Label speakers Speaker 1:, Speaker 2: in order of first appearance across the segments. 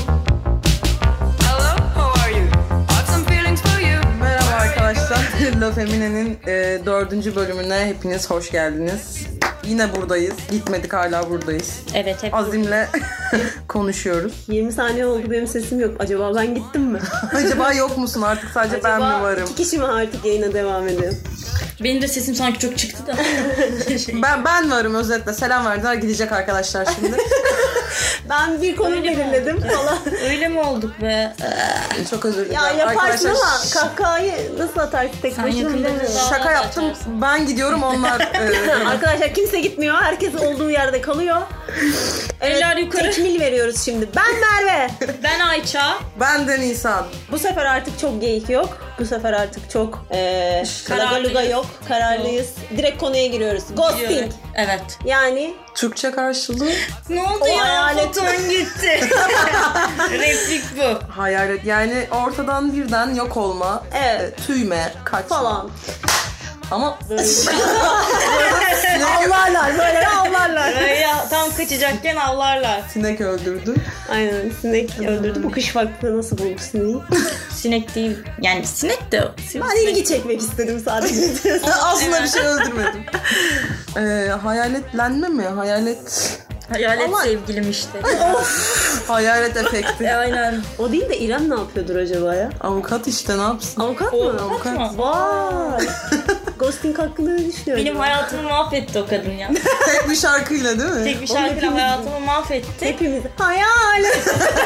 Speaker 1: Alo Femine'nin e, dördüncü bölümüne hepiniz hoş geldiniz. Yine buradayız. Gitmedik hala buradayız.
Speaker 2: Evet hep
Speaker 1: Azim'le konuşuyoruz.
Speaker 3: 20 saniye oldu benim sesim yok. Acaba ben gittim mi?
Speaker 1: Acaba yok musun artık sadece ben
Speaker 3: Acaba
Speaker 1: mi varım?
Speaker 3: iki kişi mi artık yayına devam ediyor?
Speaker 2: benim de sesim sanki çok çıktı da. Şey,
Speaker 1: Ben ben varım özetle. Selam verdiler gidecek arkadaşlar şimdi.
Speaker 3: Ben bir konu belirledim falan.
Speaker 2: Öyle mi olduk be?
Speaker 1: Çok özür dilerim.
Speaker 3: ya yaparsın
Speaker 1: arkadaşlar.
Speaker 3: ama kahkahayı nasıl atarsın tek
Speaker 2: Sen
Speaker 3: başına
Speaker 2: yakında
Speaker 3: bilemiyorum.
Speaker 2: mısın?
Speaker 1: Şaka yaptım. Ben gidiyorum onlar. e,
Speaker 3: Arkadaşlar kimse gitmiyor. Herkes olduğu yerde kalıyor.
Speaker 2: Eller yukarı.
Speaker 3: Tekmil veriyoruz şimdi. Ben Merve.
Speaker 2: Ben Ayça.
Speaker 1: ben de Nisan.
Speaker 3: Bu sefer artık çok geyik yok. Bu sefer artık çok eee
Speaker 2: Kararlıyız.
Speaker 3: lagaluga yok. Kararlıyız. Direkt konuya giriyoruz. Ghosting.
Speaker 2: Evet.
Speaker 3: Yani
Speaker 1: Türkçe karşılığı
Speaker 2: Ne oldu
Speaker 3: O
Speaker 2: ya?
Speaker 3: hayalet-
Speaker 2: Foton gitti. Replik bu.
Speaker 1: hayalet. Yani ortadan birden yok olma,
Speaker 3: Evet.
Speaker 1: e, tüyme, kaçma.
Speaker 3: falan.
Speaker 1: Ama
Speaker 3: avlarlar böyle avlarlar.
Speaker 2: Böyle ya, tam kaçacakken avlarlar.
Speaker 1: sinek öldürdü.
Speaker 3: Aynen sinek öldürdü. Bu kış vakti nasıl buldu sineği?
Speaker 2: Sinek değil. Yani sinek de. Sinek.
Speaker 3: Ben ilgi çekmek istedim sadece.
Speaker 1: Aslında bir şey öldürmedim. Ee, hayaletlenme mi? Hayalet...
Speaker 2: Hayalet
Speaker 1: Ama-
Speaker 2: sevgilim işte. E,
Speaker 1: Hayalet efekti.
Speaker 2: Aynen.
Speaker 3: o değil de İrem ne yapıyordur acaba ya?
Speaker 1: Avukat işte ne yapsın?
Speaker 3: Avukat
Speaker 2: O-
Speaker 3: mı?
Speaker 1: Avukat.
Speaker 2: Kaçma.
Speaker 3: Vay. Ghosting hakkında ne düşünüyorsun?
Speaker 2: Benim hayatımı mahvetti o kadın ya.
Speaker 1: Tek bir şarkıyla değil mi?
Speaker 2: Tek bir şarkıyla
Speaker 3: hepimiz-
Speaker 2: hayatımı mahvetti.
Speaker 3: Hepimiz hayal.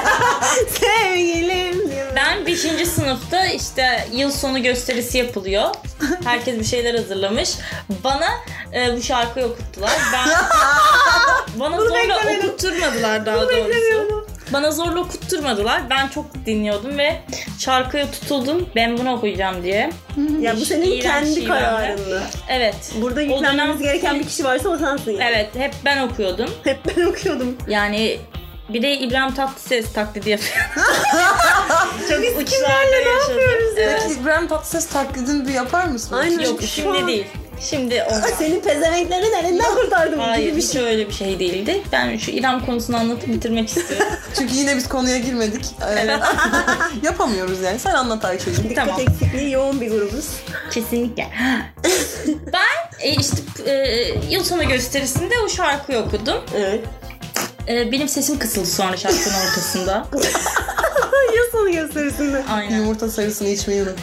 Speaker 3: Sevgilim.
Speaker 2: Ben 5. sınıfta işte yıl sonu gösterisi yapılıyor. Herkes bir şeyler hazırlamış. Bana e, bu şarkıyı okuttular. Ben bana zorla
Speaker 3: beklemiyordum.
Speaker 2: okutturmadılar daha doğrusu.
Speaker 3: beklemiyordum.
Speaker 2: Bana zorla okutturmadılar. Ben çok dinliyordum ve şarkıya tutuldum. Ben bunu okuyacağım diye.
Speaker 3: Ya bu senin
Speaker 2: İğrenç,
Speaker 3: kendi
Speaker 2: iğrenç.
Speaker 3: kararın.
Speaker 2: Evet.
Speaker 3: Burada
Speaker 2: O
Speaker 3: yüklenmemiz
Speaker 2: dönem-
Speaker 3: gereken bir kişi varsa o sensin. yani.
Speaker 2: Evet, hep ben okuyordum.
Speaker 3: Hep ben okuyordum.
Speaker 2: Yani bir de İbrahim Tatlıses taklidi yapıyor. çok uçlarda yaşadım. Evet.
Speaker 1: Peki İbrahim Tatlıses taklidini bir yapar mısın?
Speaker 3: Aynen.
Speaker 2: Yok
Speaker 3: Şu
Speaker 2: şimdi
Speaker 3: an-
Speaker 2: değil. Şimdi o.
Speaker 3: Senin pezevenklerin elinden kurtardım
Speaker 2: Hayır
Speaker 3: gibi bir
Speaker 2: hiç
Speaker 3: şey.
Speaker 2: öyle bir şey değildi. Ben şu İrem konusunu anlatıp bitirmek istiyorum.
Speaker 1: Çünkü yine biz konuya girmedik. Ee, yapamıyoruz yani. Sen anlat Ayşe'cim.
Speaker 3: Dikkat
Speaker 2: Tamam.
Speaker 3: eksikliği yoğun bir grubuz.
Speaker 2: Kesinlikle. ben e, işte e, yıl sonu gösterisinde o şarkıyı okudum.
Speaker 3: Evet.
Speaker 2: E, benim sesim kısıldı sonra şarkının ortasında.
Speaker 3: Yıl sonu gösterisinde.
Speaker 2: Aynen.
Speaker 1: Yumurta sarısını içmeyi unut.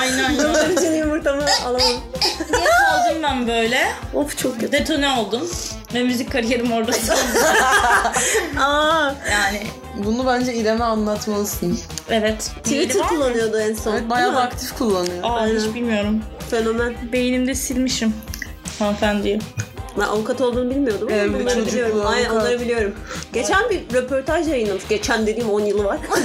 Speaker 2: Aynen. ya.
Speaker 3: Dolar için yumurtamı alamam.
Speaker 2: Diye kaldım ben böyle.
Speaker 3: of çok kötü.
Speaker 2: Detone oldum. Ve müzik kariyerim orada sona-
Speaker 3: Aa,
Speaker 2: Yani
Speaker 1: Bunu bence İrem'e anlatmalısın.
Speaker 2: evet. Neydi
Speaker 3: Twitter
Speaker 2: var?
Speaker 3: kullanıyordu en son.
Speaker 1: Evet, bayağı da
Speaker 3: Değil mi?
Speaker 1: aktif kullanıyor.
Speaker 2: Aa hiç
Speaker 3: Aynen.
Speaker 2: bilmiyorum.
Speaker 3: Fenomen.
Speaker 2: Beynimde silmişim hanımefendiyi.
Speaker 3: Ben avukat olduğunu bilmiyordum ama
Speaker 1: Evet, bir
Speaker 3: bunları
Speaker 1: çocuklu
Speaker 3: biliyorum. Aynen
Speaker 1: avukat.
Speaker 3: onları biliyorum. Geçen bir röportaj yayınlamış. Geçen dediğim 10 yılı var.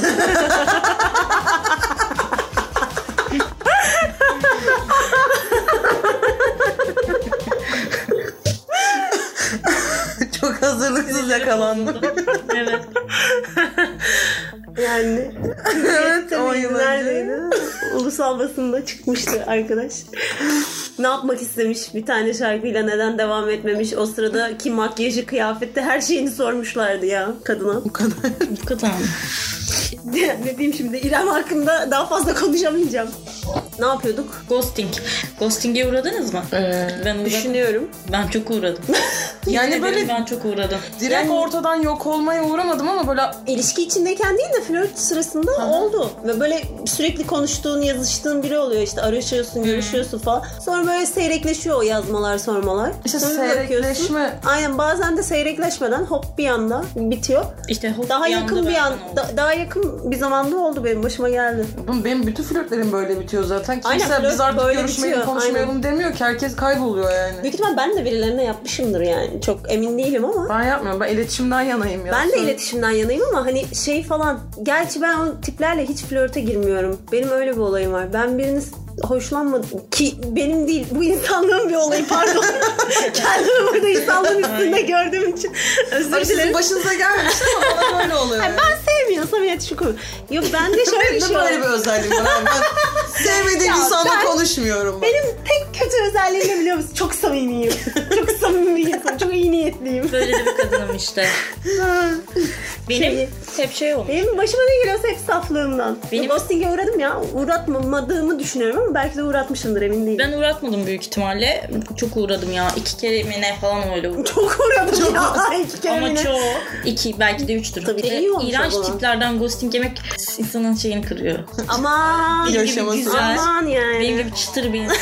Speaker 1: Çok hazırlıksız yakalandım.
Speaker 2: evet.
Speaker 3: Yani.
Speaker 1: evet,
Speaker 3: Tabii
Speaker 1: 10 yıl önce.
Speaker 3: neredeydi? Ulusal basında çıkmıştı arkadaş. ne yapmak istemiş bir tane şarkıyla neden devam etmemiş. O sırada ki makyajı, kıyafeti her şeyini sormuşlardı ya kadına.
Speaker 1: Bu kadar.
Speaker 2: Kadın.
Speaker 3: ne diyeyim şimdi İrem hakkında daha fazla konuşamayacağım. Ne yapıyorduk?
Speaker 2: Ghosting. Ghosting'e uğradınız mı? ben uğradım.
Speaker 3: Düşünüyorum.
Speaker 2: Ben çok uğradım.
Speaker 1: Yani
Speaker 2: Ederim,
Speaker 1: böyle
Speaker 2: ben çok uğradım.
Speaker 1: direkt ortadan yok olmaya uğramadım ama böyle
Speaker 3: İlişki içindeyken değil de flört sırasında oldu. Ve böyle sürekli konuştuğun, yazıştığın biri oluyor işte araşıyorsun, görüşüyorsun falan. Sonra böyle seyrekleşiyor o yazmalar, sormalar.
Speaker 1: İşte
Speaker 3: Sonra bir bakıyorsun.
Speaker 1: seyrekleşme
Speaker 3: Aynen bazen de seyrekleşmeden hop bir anda bitiyor.
Speaker 2: İşte hop
Speaker 3: Daha
Speaker 2: bir anda
Speaker 3: yakın bir
Speaker 2: benden
Speaker 3: an,
Speaker 2: oldu.
Speaker 3: da- daha yakın bir zamanda oldu benim başıma geldi.
Speaker 1: Oğlum benim bütün flörtlerim böyle bitiyor zaten. Kimse
Speaker 3: Aynen, flört
Speaker 1: biz artık
Speaker 3: böyle
Speaker 1: görüşmeyelim,
Speaker 3: bitiyor,
Speaker 1: konuşmayalım demiyor ki. Herkes kayboluyor yani.
Speaker 3: Büyük ihtimal ben de birilerine yapmışımdır yani. Çok emin değilim ama.
Speaker 1: Ben yapmıyorum. Ben iletişimden yanayım ya.
Speaker 3: Ben de
Speaker 1: Söyle-
Speaker 3: iletişimden yanayım ama hani şey falan. Gerçi ben o tiplerle hiç flörte girmiyorum. Benim öyle bir olayım var. Ben birini hoşlanmadım ki benim değil bu insanlığın bir olayı pardon. Kendimi burada insanlığın üstünde gördüğüm için
Speaker 1: Abi
Speaker 3: özür
Speaker 1: sizin
Speaker 3: dilerim.
Speaker 1: başınıza gelmişti ama bana böyle oluyor.
Speaker 3: Ay,
Speaker 1: Yani.
Speaker 3: ben sevmiyorsam ya şu konu. Yok bende şöyle bir
Speaker 1: Benim de
Speaker 3: şey
Speaker 1: böyle
Speaker 3: var.
Speaker 1: bir özelliğim var. abi. Ben sevmediğim
Speaker 3: Ya
Speaker 1: insanla
Speaker 3: ben-
Speaker 1: konuşmuyorum. ben.
Speaker 3: Benim tek kötü özelliğim ne biliyor musun? Çok samimiyim. çok samimi bir insanım. Çok iyi niyetliyim.
Speaker 2: Böyle de bir kadınım işte. Benim
Speaker 3: Şeyi-
Speaker 2: hep şey olmuş.
Speaker 3: Benim başıma ne geliyorsa hep saflığımdan.
Speaker 2: Benim-
Speaker 3: Benim... Ghosting'e uğradım ya. Uğratmadığımı düşünüyorum ama belki de uğratmışımdır emin değilim.
Speaker 2: Ben uğratmadım büyük ihtimalle. Çok uğradım ya. İki kere mi ne falan öyle uğradım.
Speaker 3: Çok uğradım ya. İki kere
Speaker 2: Ama
Speaker 3: yine.
Speaker 2: çok. iki belki de üçtür.
Speaker 3: Tabii
Speaker 2: Bir de
Speaker 3: iyi olmuş
Speaker 2: İğrenç
Speaker 3: o zaman.
Speaker 2: tiplerden ghosting yemek insanın şeyini kırıyor.
Speaker 3: Aman.
Speaker 1: Bir aşaması.
Speaker 2: güzel.
Speaker 3: Aman yani.
Speaker 2: Benim gibi çıtır bir insan.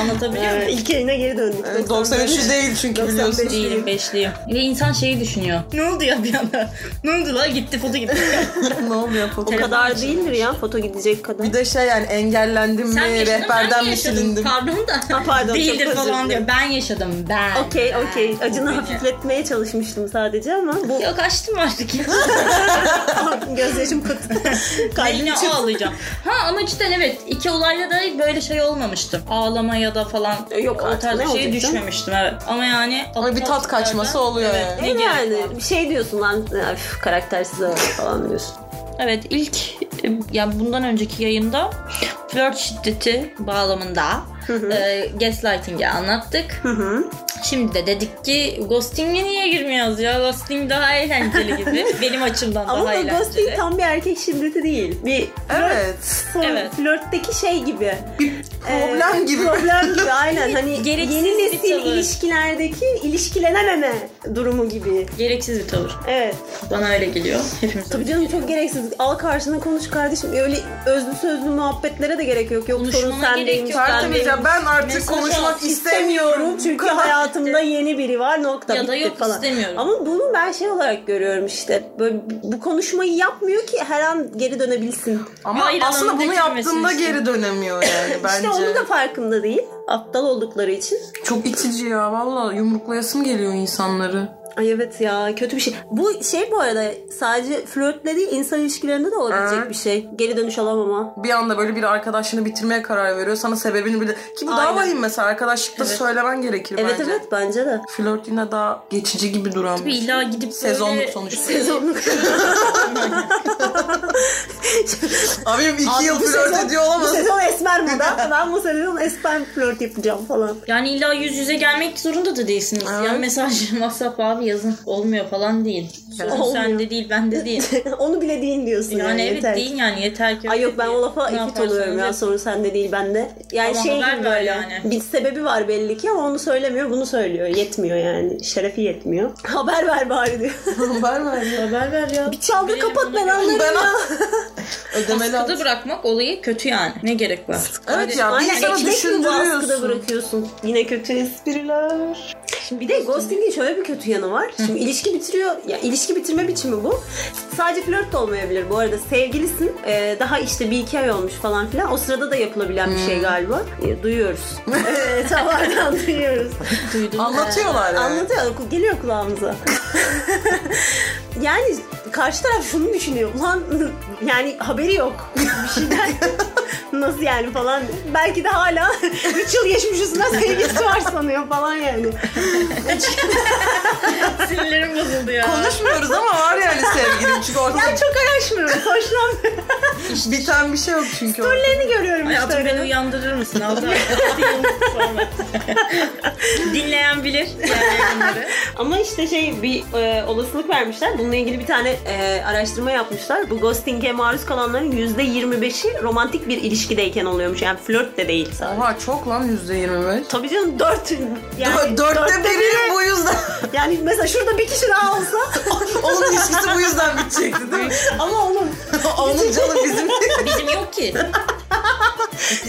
Speaker 2: Anlatabiliyor muyum?
Speaker 3: Evet, İlk yayına geri döndük.
Speaker 1: Evet, 93'ü değil çünkü
Speaker 3: 95.
Speaker 1: biliyorsun.
Speaker 2: Değilim beşliyim. Ve insan şeyi düşünüyor. Ne oldu ya bir anda? Ne oldu la gitti foto gitti.
Speaker 1: ne oluyor foto?
Speaker 3: O kadar
Speaker 2: Telefon
Speaker 3: değildir ya foto gidecek kadar.
Speaker 1: Bir de şey yani engellendim
Speaker 3: Ee,
Speaker 2: Sen
Speaker 1: mi,
Speaker 2: yaşadın ben
Speaker 1: rehberden mi
Speaker 2: yaşadım.
Speaker 1: silindim?
Speaker 2: Pardon da.
Speaker 3: Ha, pardon, çok
Speaker 2: Değildir
Speaker 3: özür
Speaker 2: falan
Speaker 3: dilerim.
Speaker 2: diyor. Ben yaşadım ben.
Speaker 3: Okey okey. Acını
Speaker 2: Beni.
Speaker 3: hafifletmeye çalışmıştım sadece ama bu
Speaker 2: Yok açtım artık ya.
Speaker 3: gözyaşım kıt.
Speaker 2: Ben
Speaker 3: Kalbim
Speaker 2: yine
Speaker 3: çıt.
Speaker 2: ağlayacağım. Ha ama cidden evet iki olayda da böyle şey olmamıştım. Ağlama ya da falan.
Speaker 3: E, yok
Speaker 2: o
Speaker 3: artık,
Speaker 2: tarz
Speaker 3: ne
Speaker 2: bir şeye
Speaker 3: olacak canım?
Speaker 2: düşmemiştim evet. Ama yani.
Speaker 1: Ama bir tat kaçması oluyor yani.
Speaker 2: Ne
Speaker 3: Yani,
Speaker 2: yani.
Speaker 3: bir şey diyorsun lan öf, karaktersiz adam falan diyorsun.
Speaker 2: Evet ilk e, ya bundan önceki yayında flört şiddeti bağlamında e, gaslighting'i anlattık.
Speaker 3: Hı hı.
Speaker 2: Şimdi de dedik ki ghosting'e niye girmiyoruz ya? Ghosting daha eğlenceli gibi. Benim açımdan
Speaker 3: Ama
Speaker 2: daha
Speaker 3: bu
Speaker 2: eğlenceli.
Speaker 3: ghosting tam bir erkek şiddeti değil. Bir
Speaker 1: Evet.
Speaker 3: son
Speaker 2: Evet.
Speaker 3: flörtteki şey gibi.
Speaker 1: Problem
Speaker 3: Ee,
Speaker 1: gibi.
Speaker 3: Problem gibi aynen. Hani
Speaker 2: Gereksiz
Speaker 3: yeni
Speaker 2: bir
Speaker 3: nesil
Speaker 2: tavır.
Speaker 3: ilişkilerdeki ilişkilenememe durumu gibi.
Speaker 2: Gereksiz bir tavır.
Speaker 3: Evet.
Speaker 2: Bana öyle geliyor. Hepimiz.
Speaker 3: Tabii canım çok gereksiz. Al karşına konuş kardeşim. Öyle özlü sözlü muhabbetlere de gerek yok. Yok
Speaker 2: Konuşmana
Speaker 3: sorun sen
Speaker 2: gerek
Speaker 3: değil.
Speaker 2: yok.
Speaker 3: sen
Speaker 1: Tertemiz
Speaker 3: değil.
Speaker 1: ya ben artık
Speaker 2: Mesaj
Speaker 1: konuşmak
Speaker 2: at,
Speaker 1: istemiyorum.
Speaker 3: Çünkü hayatımda yeni biri var nokta
Speaker 2: Ya da
Speaker 3: bitti
Speaker 2: yok,
Speaker 3: falan.
Speaker 2: istemiyorum.
Speaker 3: Ama bunu ben şey olarak görüyorum işte. Böyle bu konuşmayı yapmıyor ki her an geri dönebilsin.
Speaker 1: Ama
Speaker 2: Hayır,
Speaker 1: aslında
Speaker 2: alanında
Speaker 1: bunu
Speaker 2: girmesin
Speaker 1: yaptığında
Speaker 2: işte.
Speaker 1: geri dönemiyor yani bence.
Speaker 3: İşte onu da farkında değil. Aptal oldukları için.
Speaker 1: Çok itici ya valla yumruklayasım geliyor insanları.
Speaker 3: Ay evet ya kötü bir şey. Bu şey bu arada sadece flörtle değil insan ilişkilerinde de olabilecek
Speaker 1: Hı.
Speaker 3: bir şey. Geri dönüş alamama.
Speaker 1: Bir anda böyle bir arkadaşını bitirmeye karar veriyor. Sana sebebini bile... Ki bu daha
Speaker 3: Aynen.
Speaker 1: vahim mesela arkadaşlıkta söylemen gerekir
Speaker 3: Evet
Speaker 1: bence.
Speaker 3: evet bence de.
Speaker 1: Flört yine daha geçici gibi duran
Speaker 2: Bir
Speaker 1: bir şey.
Speaker 2: illa gidip
Speaker 1: Sezonluk
Speaker 2: böyle-
Speaker 1: sonuçta.
Speaker 3: Sezonluk.
Speaker 1: Abim iki yıl
Speaker 3: Bu
Speaker 1: flört
Speaker 3: sezon-
Speaker 1: ediyor
Speaker 3: Bu
Speaker 1: olamaz.
Speaker 3: sezon esmer mi ben? Ben bu sezon esmer flört yapacağım falan.
Speaker 2: Yani illa yüz yüze gelmek zorunda da değilsiniz. Yani
Speaker 1: Evet.
Speaker 2: mesaj, WhatsApp abi yazın olmuyor falan değil. Sorun
Speaker 3: Olmuyor.
Speaker 2: sende değil, bende değil.
Speaker 3: Onu bile deyin diyorsun
Speaker 2: Yani,
Speaker 3: yani.
Speaker 2: evet
Speaker 3: yeter ki.
Speaker 2: değil yani yeter ki.
Speaker 3: Ay yok ben o lafa
Speaker 2: Ne
Speaker 3: ifit
Speaker 2: yaparsanız
Speaker 3: oluyorum ya
Speaker 2: yapın.
Speaker 3: sorun sende değil bende. Yani
Speaker 2: Ama
Speaker 3: şey
Speaker 2: haber
Speaker 3: gibi
Speaker 2: ver
Speaker 3: böyle
Speaker 2: yani.
Speaker 3: bir sebebi var belli ki ama onu söylemiyor bunu söylüyor. Yetmiyor yani şerefi yetmiyor. Haber ver bari diyor.
Speaker 1: Haber ver ya.
Speaker 2: Haber ver ya.
Speaker 3: bir çalgı
Speaker 2: Bilelim
Speaker 3: kapat
Speaker 2: bunu
Speaker 3: ben
Speaker 2: ya.
Speaker 3: anlarım
Speaker 1: Ben
Speaker 3: ya.
Speaker 1: Ödemeli
Speaker 2: Askıda bırakmak olayı kötü yani. Ne gerek var?
Speaker 1: Evet ya bir
Speaker 3: Aynen
Speaker 1: insanı
Speaker 3: ekmek mi bu askıda
Speaker 1: düşündürüyorsun.
Speaker 3: bırakıyorsun? Yine kötü espriler. Şimdi bir de ghosting'in şöyle bir kötü yanı var. Şimdi ilişki bitiriyor. Ya ilişki bitirme biçimi bu. Sadece flört de olmayabilir bu arada. Sevgilisin. e, daha işte bir iki ay olmuş falan filan. O sırada da yapılabilen bir şey galiba. E, duyuyoruz. evet tavardan duyuyoruz.
Speaker 2: Duydum.
Speaker 1: Anlatıyorlar yani.
Speaker 3: Anlatıyor. Geliyor kulağımıza. yani karşı taraf şunu düşünüyor. Ulan yani haberi yok. Bir şeyden nasıl yani falan. Belki de hala 3 yıl geçmiş üstüne sevgilisi var sanıyor falan yani.
Speaker 2: Sinirlerim bozuldu ya.
Speaker 1: Konuşmuyoruz ama var yani sevgilim. Çünkü ortada
Speaker 3: Ben çok araşmıyorum. Hoşlanmıyorum.
Speaker 1: biten bir şey yok çünkü.
Speaker 3: Storylerini görüyorum işte.
Speaker 2: Hayatım beni
Speaker 3: arada.
Speaker 2: uyandırır mısın? Altı ay sonra. Dinleyen bilir. Yani yayınları.
Speaker 3: Ama işte şey bir e, olasılık vermişler. Bununla ilgili bir tane e, araştırma yapmışlar. Bu ghosting'e maruz kalanların %25'i romantik bir ilişkideyken oluyormuş. Yani flört de değil sadece.
Speaker 1: Oha çok lan yüzde yirmi beş.
Speaker 3: Tabii canım dört. Yani
Speaker 1: Dörtte biri bu yüzden.
Speaker 3: Yani mesela şurada bir kişi daha olsa
Speaker 1: Onun ilişkisi bu yüzden bitecekti değil mi?
Speaker 3: ama oğlum
Speaker 1: Onun canı bizim.
Speaker 2: Bizim yok ki.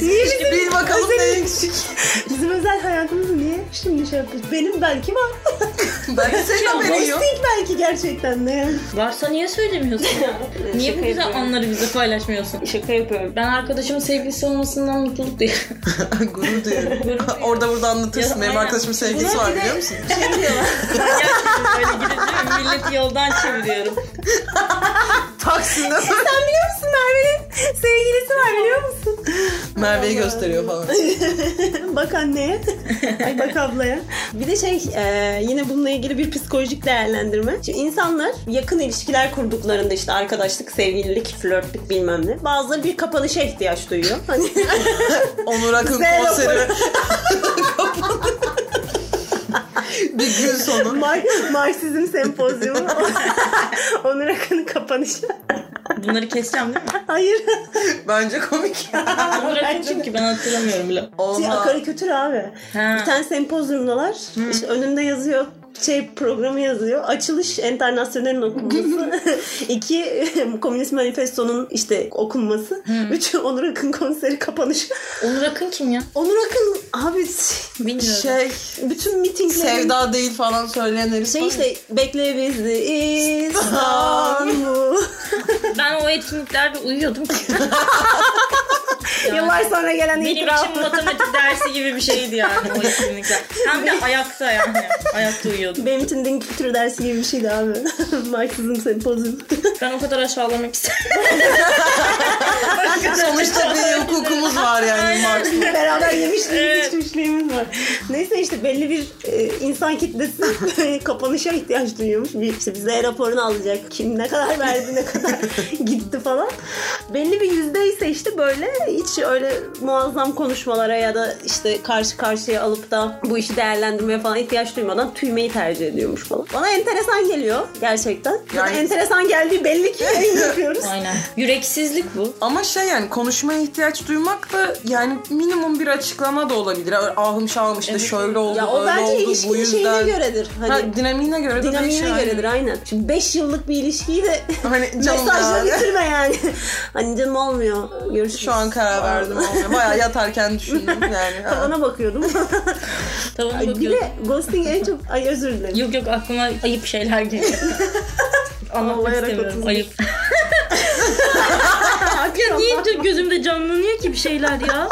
Speaker 3: niye bizim,
Speaker 1: Bil bakalım ne
Speaker 3: özel,
Speaker 1: eksik.
Speaker 3: bizim özel hayatımızı niye şimdi şey yapıyoruz? Benim belki var.
Speaker 1: Ben senin haberin yok.
Speaker 3: Ghosting belki gerçekten de yani.
Speaker 2: Varsa niye söylemiyorsun? niye bu
Speaker 3: Şaka
Speaker 2: güzel
Speaker 3: yapıyorum.
Speaker 2: anları bize paylaşmıyorsun?
Speaker 3: Şaka yapıyorum.
Speaker 2: Ben arkadaşımın sevgilisi olmasından mutluluk duyuyorum.
Speaker 1: Gurur duyuyorum.
Speaker 2: duyuyorum.
Speaker 1: Orada burada anlatırsın.
Speaker 2: Ya,
Speaker 1: Benim
Speaker 2: aynen.
Speaker 1: arkadaşımın sevgilisi
Speaker 3: Buna
Speaker 1: var
Speaker 3: bir de-
Speaker 1: biliyor musun?
Speaker 3: Şey diyorlar.
Speaker 2: Gerçekten böyle gideceğim. Milleti yoldan çeviriyorum.
Speaker 1: Taksim'de
Speaker 3: Sen biliyor musun Merve'nin sevgilisi var biliyor musun?
Speaker 1: Merve'yi gösteriyor falan.
Speaker 3: bak anneye. Ay bak ablaya. Bir de şey e, yine bununla ilgili bir psikolojik değerlendirme. Şimdi insanlar yakın ilişkiler kurduklarında işte arkadaşlık, sevgililik, flörtlük bilmem ne. Bazıları bir kapanışa ihtiyaç duyuyor. Hani
Speaker 1: Onur Akın
Speaker 3: Zero
Speaker 1: konseri. bir gün sonu.
Speaker 3: Mar Marksizm sempozyumu. Onur Akın'ın kapanışı.
Speaker 2: Bunları keseceğim değil mi?
Speaker 3: Hayır.
Speaker 1: Bence komik.
Speaker 2: Bunları kim çünkü ben hatırlamıyorum bile.
Speaker 3: Şey,
Speaker 1: Olmaz.
Speaker 3: karikatür abi.
Speaker 2: Ha.
Speaker 3: Bir tane sempozyumdalar. İşte önünde yazıyor şey programı yazıyor. Açılış enternasyonelin okunması. iki komünist manifestonun işte okunması. Üç Onur Akın konseri kapanışı.
Speaker 2: Onur Akın kim ya?
Speaker 3: Onur Akın abi
Speaker 2: Bilmiyorum.
Speaker 1: Şey,
Speaker 3: bütün mitinglerin
Speaker 1: sevda değil falan söyleyen herif. var
Speaker 3: şey
Speaker 1: ya.
Speaker 3: işte bekle bizi İstanbul.
Speaker 2: Ben o etkinliklerde uyuyordum. Yani
Speaker 3: Yıllar sonra gelen
Speaker 2: Benim
Speaker 3: itiraf.
Speaker 2: için matematik dersi gibi bir şeydi yani o etkinlikler. Hem de ayakta yani. Ayakta uyuyordum.
Speaker 3: Benim için din kültürü dersi gibi bir şeydi abi. Marksizm sempozyumu.
Speaker 2: Ben o kadar aşağılamak istedim.
Speaker 1: Sonuçta bir hukukumuz var yani Marx.
Speaker 3: Beraber yemişliğimiz,
Speaker 2: Evet.
Speaker 3: içmişliğimiz var. Neyse işte belli bir e, insan kitlesi kapanışa ihtiyaç duyuyormuş. Bir, işte bize raporunu alacak. Kim ne kadar verdi, ne kadar gitti falan. Belli bir yüzde ise işte böyle hiç öyle muazzam konuşmalara ya da işte karşı karşıya alıp da bu işi değerlendirmeye falan ihtiyaç duymadan tüymeyi tercih ediyormuş falan. Bana enteresan geliyor gerçekten. Yani...
Speaker 1: Yani-
Speaker 3: enteresan geldiği belli ki yayın yapıyoruz.
Speaker 2: Aynen. Yüreksizlik bu.
Speaker 1: Ama şey yani konuşmaya ihtiyaç duymak da yani minimum bir açıklama da olabilir. Ahım şahım işte
Speaker 2: Evet.
Speaker 1: şöyle oldu,
Speaker 3: Ya o
Speaker 1: böyle
Speaker 3: bence
Speaker 1: oldu, bu
Speaker 3: ilişkinin şeyine
Speaker 1: yüzden.
Speaker 3: göredir. Hani
Speaker 1: ha, dinamiğine göre de
Speaker 3: Dinamiğine
Speaker 1: değişir. aynen.
Speaker 3: göredir aynen. Şimdi 5 yıllık bir ilişkiyi de
Speaker 1: Hani canım
Speaker 3: mesajla
Speaker 1: yani.
Speaker 3: bitirme yani. hani canım olmuyor. Görüşürüz.
Speaker 1: Şu an karar verdim. olmuyor. Bayağı yatarken düşündüm yani. Ha.
Speaker 3: Tavana bakıyordum.
Speaker 2: Tavana
Speaker 3: Ay, bir
Speaker 2: bakıyordum.
Speaker 3: de ghosting en çok... Ay özür dilerim.
Speaker 2: Yok yok aklıma ayıp şeyler geliyor. Anlatmak
Speaker 3: Ağlayarak
Speaker 2: istemiyorum.
Speaker 3: otuz.
Speaker 2: Ayıp.
Speaker 3: Hakikaten
Speaker 2: Niye
Speaker 3: bak-
Speaker 2: de gözümde canlanıyor ki bir şeyler ya?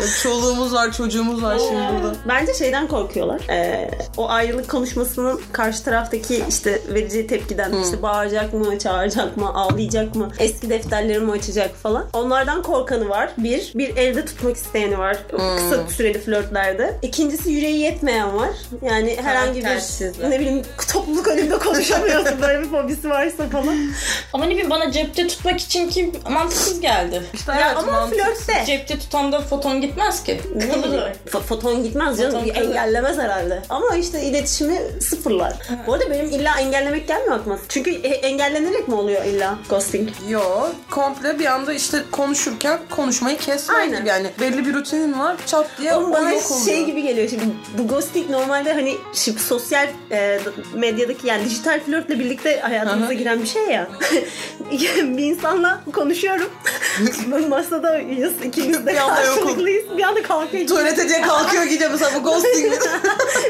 Speaker 1: Ya Çoluğumuz var, çocuğumuz var şimdi burada.
Speaker 3: Bence şeyden korkuyorlar. Ee, o ayrılık konuşmasının karşı taraftaki işte vereceği tepkiden işte bağıracak mı, çağıracak mı, ağlayacak mı, eski defterlerimi açacak falan. Onlardan korkanı var. Bir, bir elde tutmak isteyeni var. Kısa süreli flörtlerde. İkincisi yüreği yetmeyen var. Yani herhangi bir
Speaker 2: Karaktersizler.
Speaker 3: ne bileyim topluluk önünde konuşamıyorsun böyle bir fobisi varsa falan.
Speaker 2: Ama ne bileyim bana cepte tutmak için ki mantıksız geldi.
Speaker 1: İşte
Speaker 3: Ya
Speaker 1: evet,
Speaker 3: ama
Speaker 1: mantık.
Speaker 3: flörtte.
Speaker 2: Cepte tutan da foton gitmez ki.
Speaker 3: Ne
Speaker 2: Kalır
Speaker 3: bileyim,
Speaker 2: o.
Speaker 3: fo- Foton gitmez canım.
Speaker 2: Foton kalır.
Speaker 3: engellemez herhalde. Ama işte iletişimi sıfırlar. Bu arada benim illa engellemek gelmiyor aklıma. Çünkü e- engellenerek mi oluyor illa ghosting?
Speaker 1: Yo, komple bir anda işte konuşurken konuşmayı kesmek
Speaker 3: Aynen.
Speaker 1: gibi yani belli bir rutinin var çat diye
Speaker 3: Oğlum
Speaker 1: o
Speaker 3: bana
Speaker 1: yok oluyor.
Speaker 3: şey gibi geliyor. Şimdi bu ghosting normalde hani şimdi sosyal e, medyadaki yani dijital flörtle birlikte hayatımıza
Speaker 1: Aha.
Speaker 3: giren bir şey ya. bir insanla konuşuyorum. Masada uyuyuz. ikimiz de
Speaker 1: Bir anda yokum.
Speaker 3: karşılıklıyız. Bir anda kalkıyor.
Speaker 1: Tuvalete diye kalkıyor gidiyor mesela bu ghosting.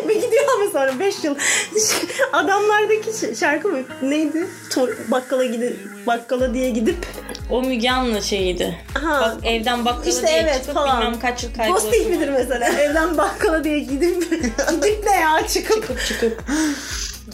Speaker 3: Ve gidiyor ama sonra 5 yıl. Adamlardaki ş- şarkı mı? Neydi? Tor- bakkala gidip bakkala diye gidip
Speaker 2: O Müge Anlı şeyiydi.
Speaker 3: Aha.
Speaker 2: Bak evden bakkala
Speaker 3: İşte
Speaker 2: diye
Speaker 3: evet
Speaker 2: çıkıp
Speaker 3: falan.
Speaker 2: bilmem kaç yıl
Speaker 3: ghosting
Speaker 2: kaybolsun.
Speaker 3: midir mesela? Evden bakkala diye gidip gidip ne ya çıkıp
Speaker 2: Çıkıp çıkıp.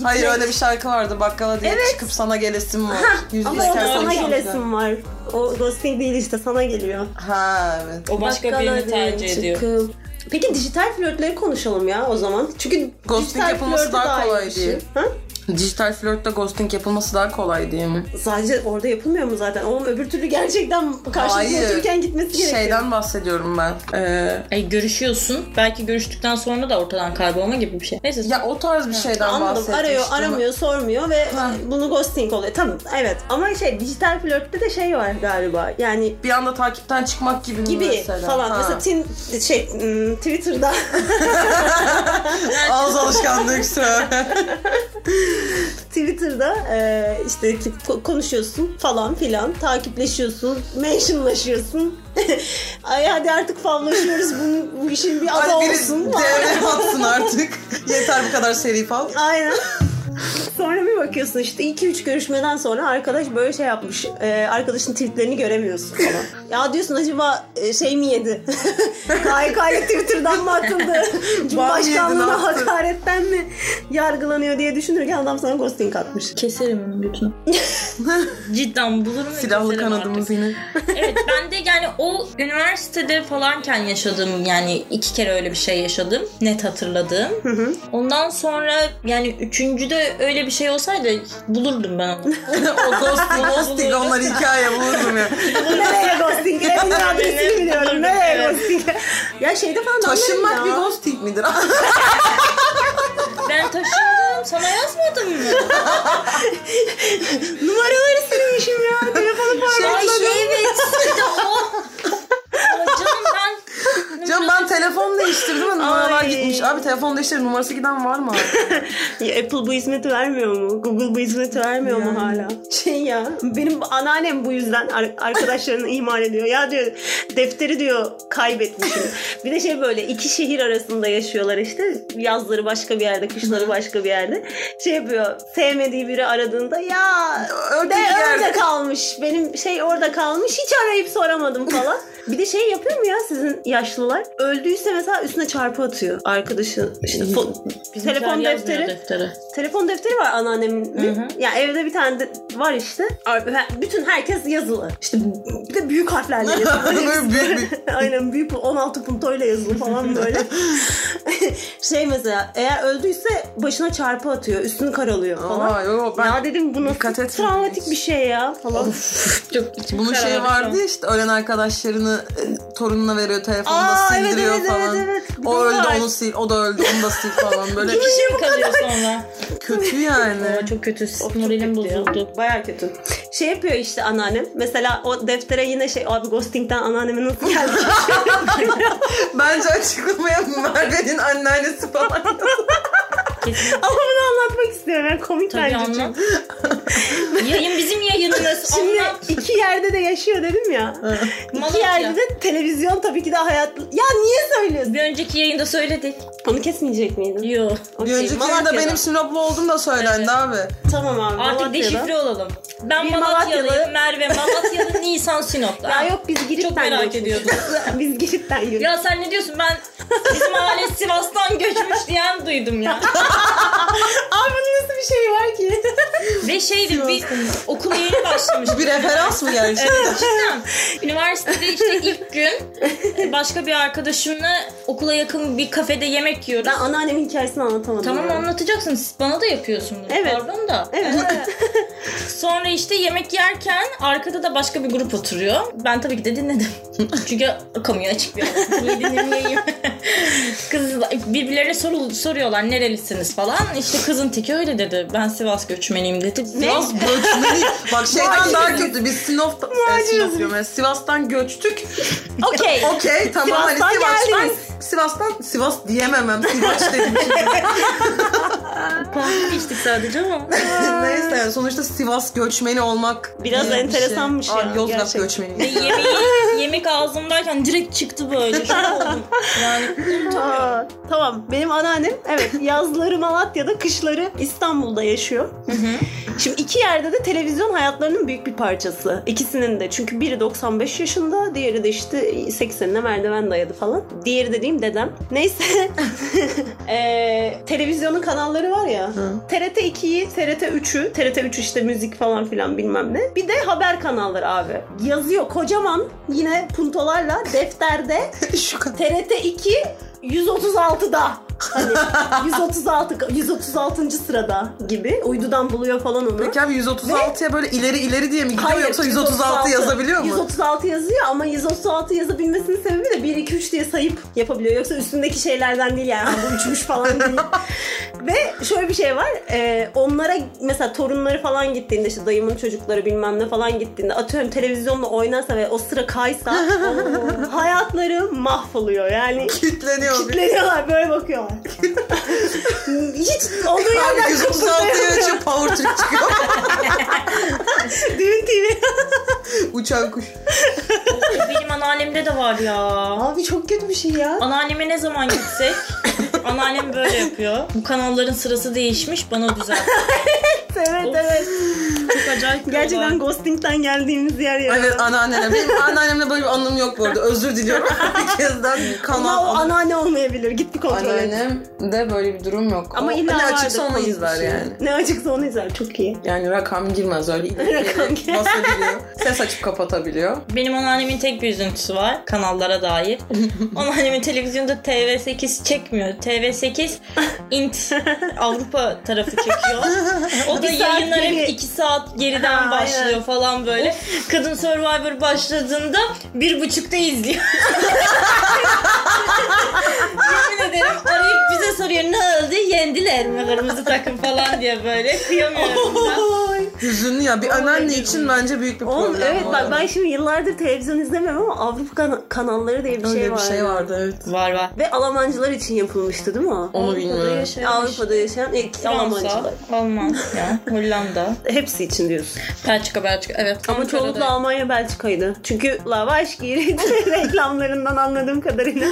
Speaker 1: Hayır öyle bir şarkı vardı bakkala diye çıkıp sana gelesim var. Yüzüne
Speaker 3: ama orada
Speaker 1: kersen
Speaker 3: sana
Speaker 1: şarkı.
Speaker 3: gelesin var. O ghosting değil işte sana geliyor.
Speaker 1: Ha evet.
Speaker 2: O başka
Speaker 3: Bakkala
Speaker 2: birini
Speaker 3: diye
Speaker 2: tercih ediyor.
Speaker 3: çıkıp. Peki dijital flörtleri konuşalım ya o zaman. Çünkü
Speaker 1: Ghosting
Speaker 3: dijital
Speaker 1: yapılması
Speaker 3: flörte
Speaker 1: daha
Speaker 3: dair
Speaker 1: kolay
Speaker 3: bir şey.
Speaker 1: diye.
Speaker 3: Ha?
Speaker 1: Dijital flörtte ghosting yapılması daha kolay diye mi?
Speaker 3: Sadece orada yapılmıyor mu zaten? Oğlum öbür türlü gerçekten karşılıklı
Speaker 1: Hayır.
Speaker 3: otururken gitmesi gerekiyor.
Speaker 1: Şeyden bahsediyorum ben. Ee,
Speaker 2: Ay görüşüyorsun. Belki görüştükten sonra da ortadan kaybolma gibi bir şey. Neyse.
Speaker 1: ya o tarz bir şeyden
Speaker 3: Anladım.
Speaker 1: bahsetmiştim.
Speaker 3: Arıyor, aramıyor, sormuyor ve
Speaker 1: Ha.
Speaker 3: bunu ghosting oluyor. Tamam, evet. Ama şey dijital flörtte de şey var galiba. Yani
Speaker 1: Bir anda takipten çıkmak gibi, mi
Speaker 3: gibi
Speaker 1: mesela.
Speaker 3: falan.
Speaker 1: Ha.
Speaker 3: Mesela tin, şey hmm, Twitter'da
Speaker 1: Ağız alışkanlığı yükselen.
Speaker 3: Twitter'da e, işte ki- ko- konuşuyorsun falan filan, takipleşiyorsun, mentionlaşıyorsun. Ay hadi artık favlaşıyoruz. Bunun, bu işin bir adı
Speaker 1: Hadi biri
Speaker 3: olsun.
Speaker 1: devre atsın artık. Yeter bu kadar seri fal.
Speaker 3: Aynen. Sonra bir bakıyorsun işte 2-3 görüşmeden sonra arkadaş böyle şey yapmış. Ee, arkadaşın tweetlerini göremiyorsun falan. ya diyorsun acaba e, şey mi yedi? KYK'ya Twitter'dan mı atıldı?
Speaker 1: yedi, ne
Speaker 3: Cumhurbaşkanlığına
Speaker 1: yaptı?
Speaker 3: hakaretten mi yargılanıyor diye düşünürken adam sana ghosting atmış.
Speaker 2: Keserim onun götünü. Cidden bulurum ve
Speaker 1: Silahlı
Speaker 2: keserim
Speaker 1: kanadımız
Speaker 2: artık.
Speaker 1: yine.
Speaker 2: evet ben de yani o üniversitede falanken yaşadığım yani iki kere öyle bir şey yaşadım. Net hatırladığım. Ondan sonra yani üçüncüde öyle bir şey olsaydı bulurdum ben onu.
Speaker 1: o ghosting, ghosting onlar hikaye bulurdum ya.
Speaker 3: Nereye ghosting? Evin adresini biliyorum. Nereye ghosting? ya şeyde falan da anlarım
Speaker 1: Taşınmak
Speaker 3: ya.
Speaker 1: bir ghosting midir?
Speaker 3: Numaraları silmişim ya. Telefonu
Speaker 1: Şey,
Speaker 2: Ay
Speaker 3: parmağımda.
Speaker 2: evet. Bir de o. Ama Canım ben.
Speaker 1: Canım ben telefon değiştirdim ama numaralar
Speaker 3: Ay.
Speaker 1: gitmiş. Abi telefon değiştirdim numarası giden var mı? abi?
Speaker 3: Ya Apple bu hizmeti vermiyor mu? Google bu hizmeti vermiyor mu hala? Şey ya benim anneannem bu yüzden ar- arkadaşlarını ihmal ediyor. Ya diyor defteri diyor kaybetmişim. bir de şey böyle iki şehir arasında yaşıyorlar işte. Yazları başka bir yerde, kışları başka bir yerde. Şey yapıyor sevmediği biri aradığında ya
Speaker 1: Öteki
Speaker 3: de
Speaker 1: yerde."
Speaker 3: orada kalmış. Benim şey orada kalmış hiç arayıp soramadım falan. bir de şey yapıyor mu ya sizin yaşlılar? Öldüyse mesela üstüne çarpı atıyor arkadaşı. İşte fo-
Speaker 2: Bizimkiler
Speaker 3: telefon
Speaker 2: yazmıyor
Speaker 3: defteri.
Speaker 2: defteri.
Speaker 3: Telefon defteri var anneannemin. Ya evde bir tane de var işte. Ar- he- Bütün herkes yazılı. İşte b- bir de büyük harflerle yazılı.
Speaker 1: Böyle büyük büyük.
Speaker 3: Aynen büyük bu 16 puntoyla yazılı falan böyle. şey mesela eğer öldüyse başına çarpı atıyor, üstünü karalıyor falan.
Speaker 1: Aa, yok, ben
Speaker 3: ya dedim bu
Speaker 1: dikkat
Speaker 3: nasıl
Speaker 1: etmedim
Speaker 3: travmatik
Speaker 1: hiç.
Speaker 3: bir şey ya falan.
Speaker 2: Çok içim
Speaker 1: Bunun şeyi
Speaker 2: karardı şu an.
Speaker 1: şey vardı ya işte ölen arkadaşlarını e, torununa veriyor telefonda
Speaker 3: Aa, evet,
Speaker 1: sildiriyor
Speaker 3: evet,
Speaker 1: falan.
Speaker 3: evet, evet. Bir de
Speaker 1: O
Speaker 3: o
Speaker 1: öldü
Speaker 3: var.
Speaker 1: onu sil, o da öldü onu da sil falan böyle
Speaker 2: Bir şey mi kalıyor sonra?
Speaker 1: kötü yani.
Speaker 2: Aa, çok kötü.
Speaker 3: Of, çok
Speaker 2: Moralim
Speaker 3: kötü ya.
Speaker 2: bozuldu.
Speaker 3: Baya kötü. Şey yapıyor işte anneannem. Mesela o deftere yine şey abi ghosting'den anneannemin nasıl geldi?
Speaker 1: Bence açıklamaya Merve'nin anneannesi falan.
Speaker 2: Kesin.
Speaker 3: Ama bunu anlatmak istiyorum. Yani komik
Speaker 2: Tabii
Speaker 3: bence
Speaker 2: anlat. Yayın bizim yayınımız.
Speaker 3: Şimdi
Speaker 2: Anlat.
Speaker 3: iki yerde de yaşıyor dedim ya. iki
Speaker 2: Malatya.
Speaker 3: yerde de televizyon tabii ki de hayat... Ya niye söylüyorsun?
Speaker 2: Bir önceki yayında söyledik.
Speaker 3: Onu kesmeyecek miydin?
Speaker 2: Yok.
Speaker 1: Bir önceki yayında benim Sinoplu olduğum da söylendi abi.
Speaker 3: Tamam abi.
Speaker 2: Artık
Speaker 3: Malatya'da.
Speaker 2: deşifre olalım. Ben
Speaker 3: Bir
Speaker 2: Malatyalıyım.
Speaker 3: Malatyalı.
Speaker 2: Merve Malatyalı Nisan Sinop'ta.
Speaker 3: Ya yok biz Girit'ten
Speaker 2: Çok merak
Speaker 3: göçmüşüz.
Speaker 2: ediyordum.
Speaker 3: biz Girit'ten yürüdük.
Speaker 2: Ya sen ne diyorsun ben bizim aile Sivas'tan göçmüş diyen duydum ya.
Speaker 3: Abi bunun nasıl bir şey var ki?
Speaker 2: Ve şeydi bir okul yeni başlamış.
Speaker 1: Bir referans mı gerçekten?
Speaker 2: Evet cidden. Üniversitede işte ilk gün e, başka bir arkadaşımla okula yakın bir kafede yemek yiyoruz.
Speaker 3: Ben anneannemin hikayesini anlatamadım.
Speaker 2: Tamam
Speaker 3: ya.
Speaker 2: anlatacaksın. Siz Bana da yapıyorsun bunu.
Speaker 3: Evet.
Speaker 2: Pardon da.
Speaker 3: Evet.
Speaker 2: Sonra işte yemek yerken arkada da başka bir grup oturuyor. Ben tabii ki de dinledim. Çünkü kamuya açık bir alan. Niye dinlemeyeyim? Kız birbirlerine soru, soruyorlar nerelisiniz falan. İşte kızın teki öyle dedi. Ben Sivas göçmeniyim dedi. Sivas
Speaker 1: Sivas göçmeni. Bak şeyden
Speaker 3: Muhaciriz.
Speaker 1: daha kötü. Biz Sinop, e, Sinop
Speaker 3: Muhaciriz.
Speaker 1: diyorum. Yani Sivas'tan göçtük.
Speaker 3: Okey.
Speaker 1: Okey tamam hani
Speaker 3: Sivas'tan
Speaker 1: Sivas'tan.
Speaker 3: geldiniz.
Speaker 1: Sivas'tan Sivas diyememem. Sivas dedim şimdi.
Speaker 2: kahve içtik sadece ama.
Speaker 1: Neyse yani sonuçta Sivas göçmeni olmak
Speaker 3: Biraz
Speaker 1: diye bir
Speaker 3: enteresanmış
Speaker 1: şey. Abi,
Speaker 3: ya,
Speaker 1: Yozgat
Speaker 3: gerçekten.
Speaker 2: Ve
Speaker 1: göçmeni.
Speaker 2: yemeği, yemek ağzımdayken direkt çıktı böyle. Şok oldum. Yani
Speaker 3: Aa, tamam benim anneannem evet yazları Malatya'da kışları İstanbul'da yaşıyor. Şimdi iki yerde de televizyon hayatlarının büyük bir parçası. İkisinin de çünkü biri 95 yaşında diğeri de işte 80'ine merdiven dayadı falan. Diğeri dediğim dedem. Neyse Ee, televizyonun kanalları var ya. TRT 2'yi, TRT 3'ü, TRT 3 işte müzik falan filan bilmem ne. Bir de haber kanalları abi. Yazıyor kocaman yine puntolarla defterde
Speaker 1: Şu kadar.
Speaker 3: TRT 2 136'da. Hani 136 136. sırada gibi. Uydudan buluyor falan onu.
Speaker 1: Peki abi 136'ya böyle ileri ileri diye mi gidiyor
Speaker 3: Hayır,
Speaker 1: yoksa 136 yazabiliyor mu?
Speaker 3: 136 yazıyor ama 136 yazabilmesinin sebebi de 1 2 3 diye sayıp yapabiliyor. Yoksa üstündeki şeylerden değil yani. Bu üçmüş falan değil. Ve şöyle bir şey var. Ee, onlara mesela torunları falan gittiğinde işte dayımın çocukları bilmem ne falan gittiğinde atıyorum televizyonla oynarsa ve o sıra kaysa oo, hayatları mahvoluyor. Yani
Speaker 1: Kitleniyor.
Speaker 3: Kitleniyorlar böyle bakıyorlar. Hiç olduğu
Speaker 1: Abi
Speaker 3: yerden
Speaker 1: 136'ya
Speaker 3: kıpırdayamıyor.
Speaker 1: açıp power trip çıkıyor.
Speaker 3: Düğün TV.
Speaker 1: Uçan kuş.
Speaker 2: benim anneannemde de var ya.
Speaker 3: Abi çok kötü bir şey ya.
Speaker 2: Anneanneme ne zaman gitsek? Anneannem böyle yapıyor. Bu kanalların sırası değişmiş bana düzelt.
Speaker 3: Evet evet.
Speaker 2: Çok acayip bir
Speaker 3: Gerçekten
Speaker 2: olay.
Speaker 3: ghosting'den geldiğimiz yer ya.
Speaker 1: Evet anneannem. Benim Hani anneannemle böyle bir anım yok bu arada. Özür diliyorum. bir kezden
Speaker 3: Ama
Speaker 1: kanal
Speaker 3: o
Speaker 1: anı.
Speaker 3: anneanne olmayabilir. Git bir kontrol et.
Speaker 1: de böyle bir durum yok.
Speaker 3: Ama
Speaker 1: O
Speaker 3: illa
Speaker 1: ne
Speaker 3: vardır
Speaker 1: açıksa onu
Speaker 3: komik bir
Speaker 1: izler
Speaker 3: şey.
Speaker 1: yani.
Speaker 3: Ne açıksa onu izler. Çok iyi.
Speaker 1: Yani rakam girmez öyle. ileri
Speaker 3: Rakam
Speaker 1: geri
Speaker 3: gir-
Speaker 1: Basabiliyor. Ses açıp kapatabiliyor.
Speaker 2: Benim anneannemin tek bir üzüntüsü var kanallara dair. Anneannemin televizyonda TV8 çekmiyor. TV8 int Avrupa tarafı çekiyor. O da
Speaker 3: Bir saat
Speaker 2: yayınlar hep
Speaker 3: geri.
Speaker 2: 2 saat geriden
Speaker 3: Ha,
Speaker 2: başlıyor
Speaker 3: aynen.
Speaker 2: falan böyle. Kadın Survivor başladığında bir buçukta izliyor. Yemin ederim arayıp bize soruyor ne oldu yendiler elime kırmızı takım falan diye böyle kıyamıyorum da.
Speaker 3: Oy.
Speaker 1: Hüzünlü ya. Bir anneanne için bence büyük bir problem.
Speaker 3: Oğlum evet
Speaker 1: bu
Speaker 3: bak
Speaker 1: arada.
Speaker 3: ben şimdi yıllardır televizyon izlemiyorum ama Avrupa kan- kanalları diye bir
Speaker 1: Öyle
Speaker 3: şey
Speaker 1: bir
Speaker 3: var.
Speaker 1: şey vardı evet.
Speaker 2: Var var.
Speaker 3: Ve Almancılar için yapılmıştı değil mi o?
Speaker 1: Onu bilmiyorum.
Speaker 3: Avrupa'da yaşayan ilk Almancılar.
Speaker 2: Fransa, Almanya, Hollanda,
Speaker 3: Hepsi için diyorsun.
Speaker 2: Belçika, Belçika. Evet.
Speaker 3: Ama
Speaker 2: Ankara'da.
Speaker 3: çoğunlukla Almanya Belçika'ydı. Çünkü Lavaş Giri reklamlarından anladığım kadarıyla.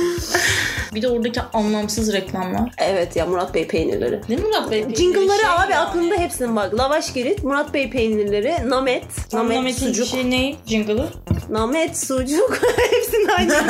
Speaker 2: Bir de oradaki anlamsız reklamlar.
Speaker 3: Evet ya Murat Bey peynirleri.
Speaker 2: Değil mi Murat Bey?
Speaker 3: Jingle'ları
Speaker 2: Şey
Speaker 3: abi
Speaker 2: ya.
Speaker 3: aklımda hepsinin bak. Lavaş Girit, Murat Bey peynirleri, Namet, Namet,
Speaker 2: Anlametin
Speaker 3: sucuk,
Speaker 2: şey ne? Jingle'ı?
Speaker 3: Namet, sucuk hepsinin aynı. şey.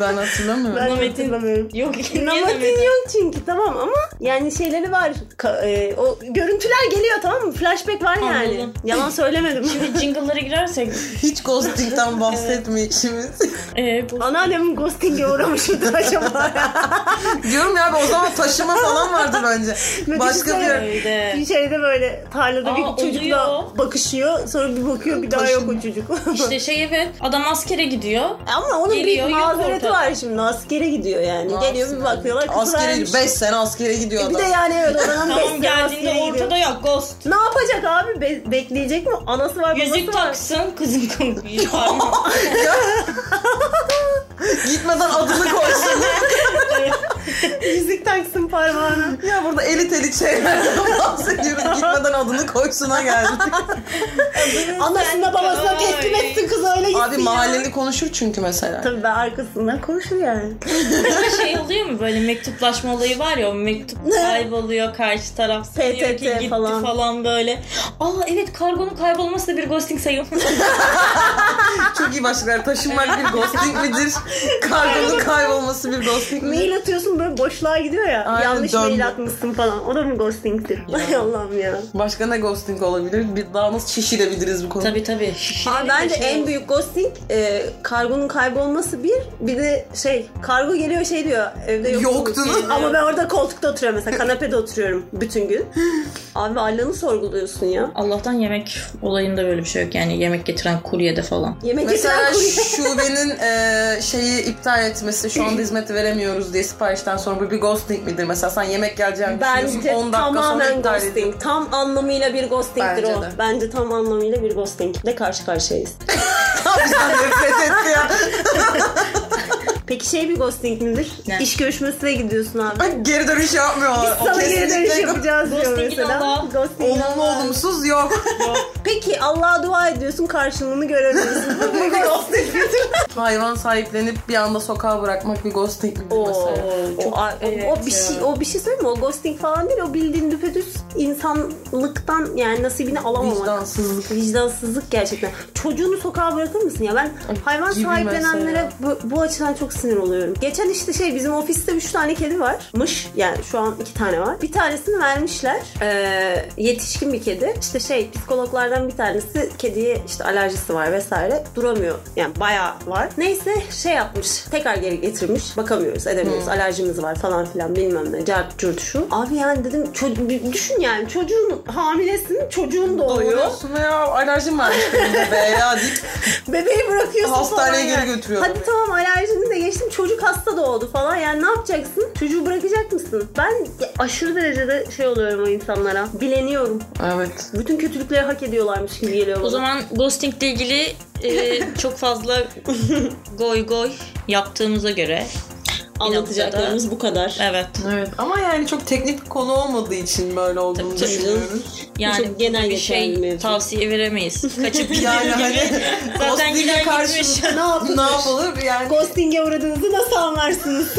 Speaker 1: Ben hatırlamıyorum.
Speaker 3: Ben
Speaker 2: Nametin-
Speaker 3: hatırlamıyorum.
Speaker 2: Yok. niye
Speaker 3: Nametin
Speaker 2: demedim?
Speaker 3: yok çünkü tamam ama yani şeyleri var. Ka- e, o görüntüler geliyor tamam mı? Flashback var yani.
Speaker 2: Anladım.
Speaker 3: Yalan söylemedim.
Speaker 2: Şimdi jingle'lara girersek.
Speaker 1: Hiç ghosting'den bahsetmeyişimiz.
Speaker 2: Ee, bu...
Speaker 3: Anneannemin ghosting'e uğramış mıdır acaba?
Speaker 1: Diyorum ya abi o zaman taşıma falan vardı bence.
Speaker 3: Ne
Speaker 1: Başka bir
Speaker 3: şey.
Speaker 2: Evde.
Speaker 3: Bir şeyde böyle tarlada
Speaker 2: Aa,
Speaker 3: bir çocukla
Speaker 2: oluyor.
Speaker 3: bakışıyor. Sonra bir bakıyor bir daha
Speaker 1: Taşın-
Speaker 3: yok o çocuk.
Speaker 2: İşte şey evet. Adam askere gidiyor.
Speaker 3: E Ama onun
Speaker 2: Geliyor,
Speaker 3: bir
Speaker 2: yok
Speaker 3: mazereti
Speaker 2: ortada.
Speaker 3: var şimdi. Askere gidiyor yani.
Speaker 1: Askere.
Speaker 3: Geliyor bir bakıyorlar kız
Speaker 1: askere
Speaker 3: vermiş.
Speaker 1: 5 sene askere gidiyor
Speaker 3: E, Bir
Speaker 1: adam.
Speaker 3: de yani evet odanın
Speaker 2: Tamam
Speaker 3: besleyen
Speaker 2: geldiğinde
Speaker 3: askere gidiyor.
Speaker 2: ortada yok. Ghost.
Speaker 3: Ne yapacak abi? Be- bekleyecek mi? Anası var babası
Speaker 2: Yüzük
Speaker 3: var.
Speaker 2: taksın kızın kanı parmağı.
Speaker 1: Gitmeden adını koysun.
Speaker 3: Yüzük taksın parmağına.
Speaker 1: ya burada elit elit şeylerden bahsediyoruz. Gitmeden adını koysuna geldik.
Speaker 3: Anasına babasına
Speaker 2: Ay.
Speaker 3: teslim etsin kız öyle gitsin
Speaker 1: Abi
Speaker 3: ya.
Speaker 1: mahalleli konuşur çünkü mesela.
Speaker 3: Tabii ben arkasından konuşur yani.
Speaker 2: Başka şey oluyor mu böyle mektuplaşma olayı var ya o mektup kayboluyor karşı taraf sanıyor ki
Speaker 3: PTT
Speaker 2: gitti
Speaker 3: falan.
Speaker 2: falan. böyle. Aa evet kargonun kaybolması da bir ghosting sayılmaz.
Speaker 1: Çok iyi başlıklar. Taşınmak bir ghosting midir? Kargonun kaybolması bir ghosting midir?
Speaker 3: Mail atıyorsun böyle boşluğa gidiyor ya.
Speaker 1: Aynen,
Speaker 3: yanlış
Speaker 1: dön.
Speaker 3: mail atmışsın falan. O da mı ghosting'tir? Ay Allah'ım ya.
Speaker 1: Başka ne ghosting olabilir? Bir daha nasıl şişirebiliriz bu konuyu?
Speaker 2: tabii tabii. Şişirme
Speaker 3: Abi bence
Speaker 2: şey
Speaker 3: en
Speaker 2: oldu.
Speaker 3: büyük ghosting e, kargonun kaybolması bir. Bir de şey kargo geliyor şey diyor evde yoktunuz.
Speaker 1: Yoktunuz.
Speaker 3: Ama ben orada koltukta oturuyorum mesela kanepede oturuyorum bütün gün. Abi Allah'ını sorguluyorsun ya.
Speaker 2: Allah'tan yemek olayında böyle bir şey yok yani yemek getiren kuryede falan.
Speaker 3: Yemek
Speaker 1: Mesela
Speaker 3: getiren kurye.
Speaker 1: şubenin e, şeyi iptal etmesi, şu anda hizmeti veremiyoruz diye siparişten sonra bu bir ghosting midir? Mesela sen yemek geleceğini düşünüyorsun,
Speaker 3: Bence
Speaker 1: 10 dakika sonra
Speaker 3: tamamen
Speaker 1: iptal ediyor.
Speaker 3: ghosting. Tam anlamıyla bir ghostingdir
Speaker 1: Bence
Speaker 3: o.
Speaker 1: de.
Speaker 3: Bence tam anlamıyla bir ghosting. De karşı karşıyayız.
Speaker 1: Bizden nefret etti ya.
Speaker 3: Peki şey bir ghosting midir?
Speaker 2: Ne?
Speaker 3: İş görüşmesine gidiyorsun abi.
Speaker 1: Geri dönüş yapmıyorlar. O
Speaker 3: Sana geri
Speaker 1: kesinlikle
Speaker 3: dönüş yapacağız diyor
Speaker 2: Ghosting'in
Speaker 3: mesela.
Speaker 2: Allah'ı.
Speaker 3: Ghosting'in
Speaker 1: Olumlu
Speaker 3: Allah'ı.
Speaker 1: olumsuz yok.
Speaker 3: Peki Allah'a dua ediyorsun karşılığını göremiyorsun. Bu bir ghosting.
Speaker 1: Hayvan sahiplenip bir anda sokağa bırakmak bir ghosting midir
Speaker 3: Oo,
Speaker 1: mesela?
Speaker 3: o, a- o-
Speaker 2: evet
Speaker 3: o bir
Speaker 2: ya.
Speaker 3: şey o bir şey söyleyeyim mi? O ghosting falan değil o bildiğin düpedüz insanlıktan yani nasibini alamamak.
Speaker 1: Vicdansızlık.
Speaker 3: Vicdansızlık gerçekten. Çocuğunu sokağa bırakır mısın ya? Ben hayvan
Speaker 1: gibi
Speaker 3: sahiplenenlere
Speaker 1: mesela.
Speaker 3: bu, bu açıdan çok sinir oluyorum. Geçen işte şey bizim ofiste 3 tane kedi varmış. Yani şu an 2 tane var. Bir tanesini vermişler. Ee, yetişkin bir kedi. İşte şey psikologlardan bir tanesi kediye işte alerjisi var vesaire. Duramıyor. Yani bayağı var. Neyse şey yapmış. Tekrar geri getirmiş. Bakamıyoruz edemiyoruz. Alerjimiz var falan filan bilmem ne. Cart curt şu. Abi yani dedim ço- bir düşün yani çocuğun hamilesin çocuğun doğuyor.
Speaker 1: Doğuruyorsun ya alerjim varmış benim de be ya deyip
Speaker 3: Bebeği bırakıyorsun
Speaker 1: Hastaneye
Speaker 3: falan
Speaker 1: geri götürüyor
Speaker 3: Hadi
Speaker 1: adamı.
Speaker 3: tamam alerjini de geçtim çocuk hasta doğdu falan yani ne yapacaksın? Çocuğu bırakacak mısın? Ben ya aşırı derecede şey oluyorum o insanlara. Bileniyorum.
Speaker 1: Evet.
Speaker 3: Bütün kötülükleri hak ediyorlarmış gibi geliyor bana.
Speaker 2: O zaman ghostingle ilgili e, çok fazla goy goy yaptığımıza göre
Speaker 3: anlatacaklarımız bu kadar.
Speaker 2: evet
Speaker 1: Evet ama yani çok teknik bir konu olmadığı için böyle olduğunu
Speaker 2: Tabii, tabii.
Speaker 1: düşünüyoruz.
Speaker 2: yani
Speaker 3: Çok genel
Speaker 2: bir
Speaker 3: geçerli
Speaker 2: şey
Speaker 3: mevzu.
Speaker 2: tavsiye veremeyiz. Kaçıp
Speaker 1: Yani
Speaker 2: gidiyor
Speaker 1: hani
Speaker 2: gibi. şey Zaten
Speaker 1: ghosting'e
Speaker 2: giden
Speaker 1: karşı
Speaker 2: gitmiş.
Speaker 3: ne yaptın?
Speaker 1: ne yapılır yani
Speaker 3: Ghosting'e uğradığınızı nasıl anlarsınız?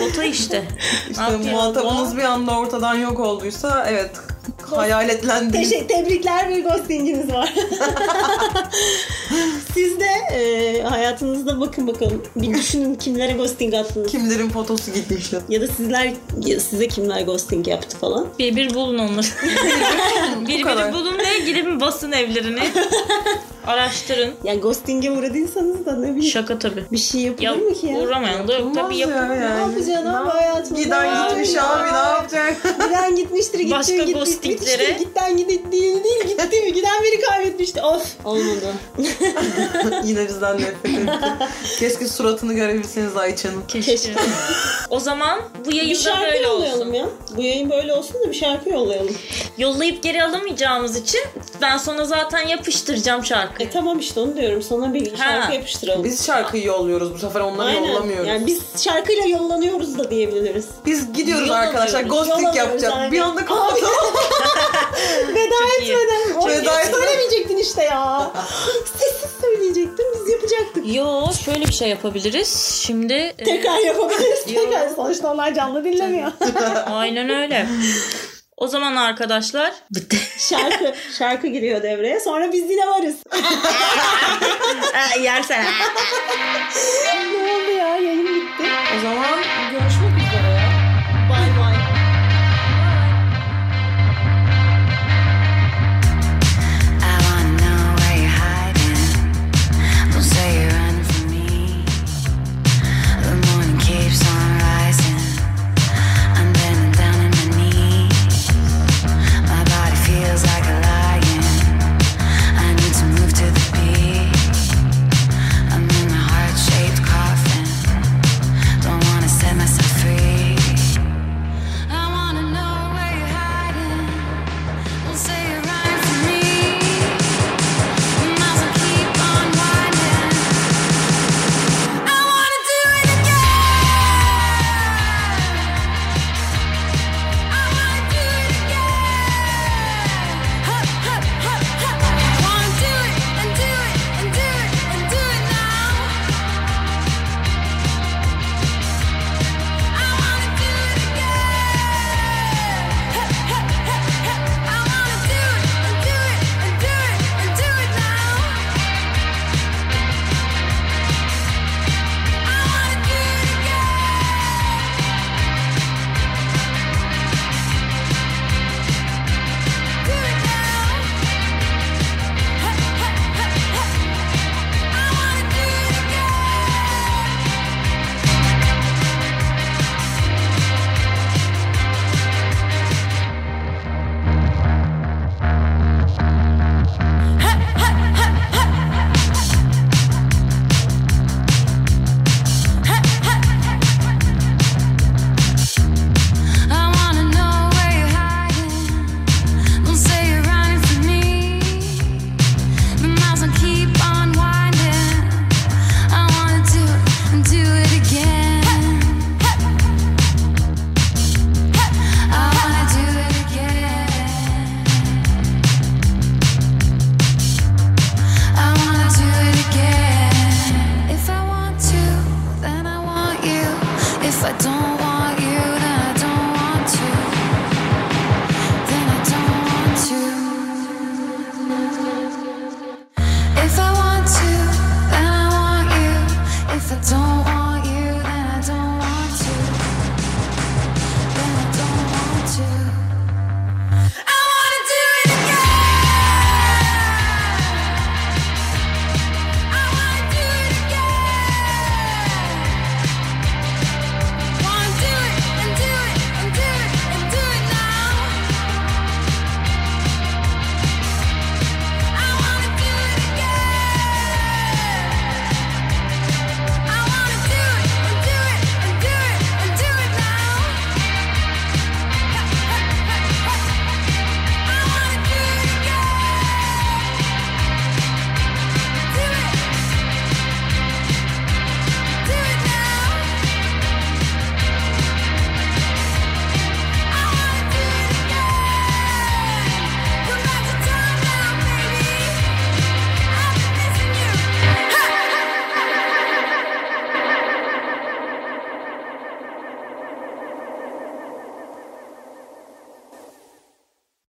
Speaker 2: Foto işte. Ne
Speaker 1: işte
Speaker 2: yapıyor
Speaker 1: muhatabınız
Speaker 2: bu?
Speaker 1: bir anda ortadan yok olduysa evet hayaletlendiğiniz
Speaker 3: Teşekkür, tebrikler bir ghosting'iniz var. Siz de e, hayatınızda bakın bakalım. Bir düşünün kimlere ghosting attınız.
Speaker 1: kimlerin fotosu gitmiş.
Speaker 3: Ya da sizler size kimler ghosting yaptı falan.
Speaker 2: Bir bir bulun onları. bir
Speaker 1: kadar.
Speaker 2: bir bulun ve gidin basın evlerini. Araştırın.
Speaker 3: Yani ghosting'e uğradıysanız da ne bileyim.
Speaker 2: Şaka tabii.
Speaker 3: bir şey yapılır
Speaker 2: Ya
Speaker 3: mı ki ya?
Speaker 2: uğramayan da yok tabii
Speaker 1: Olmaz ya
Speaker 2: yapın.
Speaker 1: yani.
Speaker 3: Ne yapacaksın abi hayatımda?
Speaker 1: Giden
Speaker 3: ya?
Speaker 1: gitmiş
Speaker 3: Ya.
Speaker 1: abi ne yapacak?
Speaker 3: Giden gitmiştir, gitti
Speaker 2: Başka
Speaker 3: gitti,
Speaker 2: ghostinglere-
Speaker 3: gitmiştir. Giden gidildiğini değil, gitti mi? Giden biri kaybetmiştir,
Speaker 2: işte of.
Speaker 4: Olmadı.
Speaker 1: Yine bizden nefret etti. Keşke suratını görebilseniz Ayça'nın.
Speaker 2: Keşke. o zaman bu
Speaker 3: Bir
Speaker 2: yayında
Speaker 3: şarkı
Speaker 2: böyle
Speaker 3: yollayalım
Speaker 2: olsun.
Speaker 3: ya. Bu yayın böyle olsun da bir şarkı yollayalım.
Speaker 2: Yollayıp geri alamayacağımız için ben sonra zaten yapıştıracağım şarkıyı.
Speaker 3: E tamam işte onu diyorum. Sana bir şarkı yapıştıralım.
Speaker 1: Biz şarkıyı yolluyoruz bu sefer onları yollamıyoruz.
Speaker 3: Yani biz şarkıyla yollanıyoruz da diyebiliriz.
Speaker 1: Biz gidiyoruz
Speaker 2: Yol
Speaker 1: arkadaşlar.
Speaker 2: alıyoruz,
Speaker 1: Ghosting
Speaker 3: yol
Speaker 1: yapacağız.
Speaker 3: alıyoruz,
Speaker 1: Bir anda kapatalım.
Speaker 3: Veda
Speaker 2: Çok iyi.
Speaker 3: etmeden. Oy,
Speaker 1: Veda etmeden.
Speaker 3: Söylemeyecektin işte ya. Sessiz söyleyecektin biz yapacaktık.
Speaker 2: Yo şöyle bir şey yapabiliriz. Şimdi e,
Speaker 3: Tekrar yapabiliriz. Tekrar sonuçta onlar canlı dinlemiyor.
Speaker 2: aynen öyle. O zaman arkadaşlar bitti.
Speaker 3: şarkı şarkı giriyor devreye. Sonra biz yine varız.
Speaker 2: Yersen.
Speaker 3: ne oldu ya? Yayın bitti.
Speaker 1: o zaman
Speaker 3: Görüşmek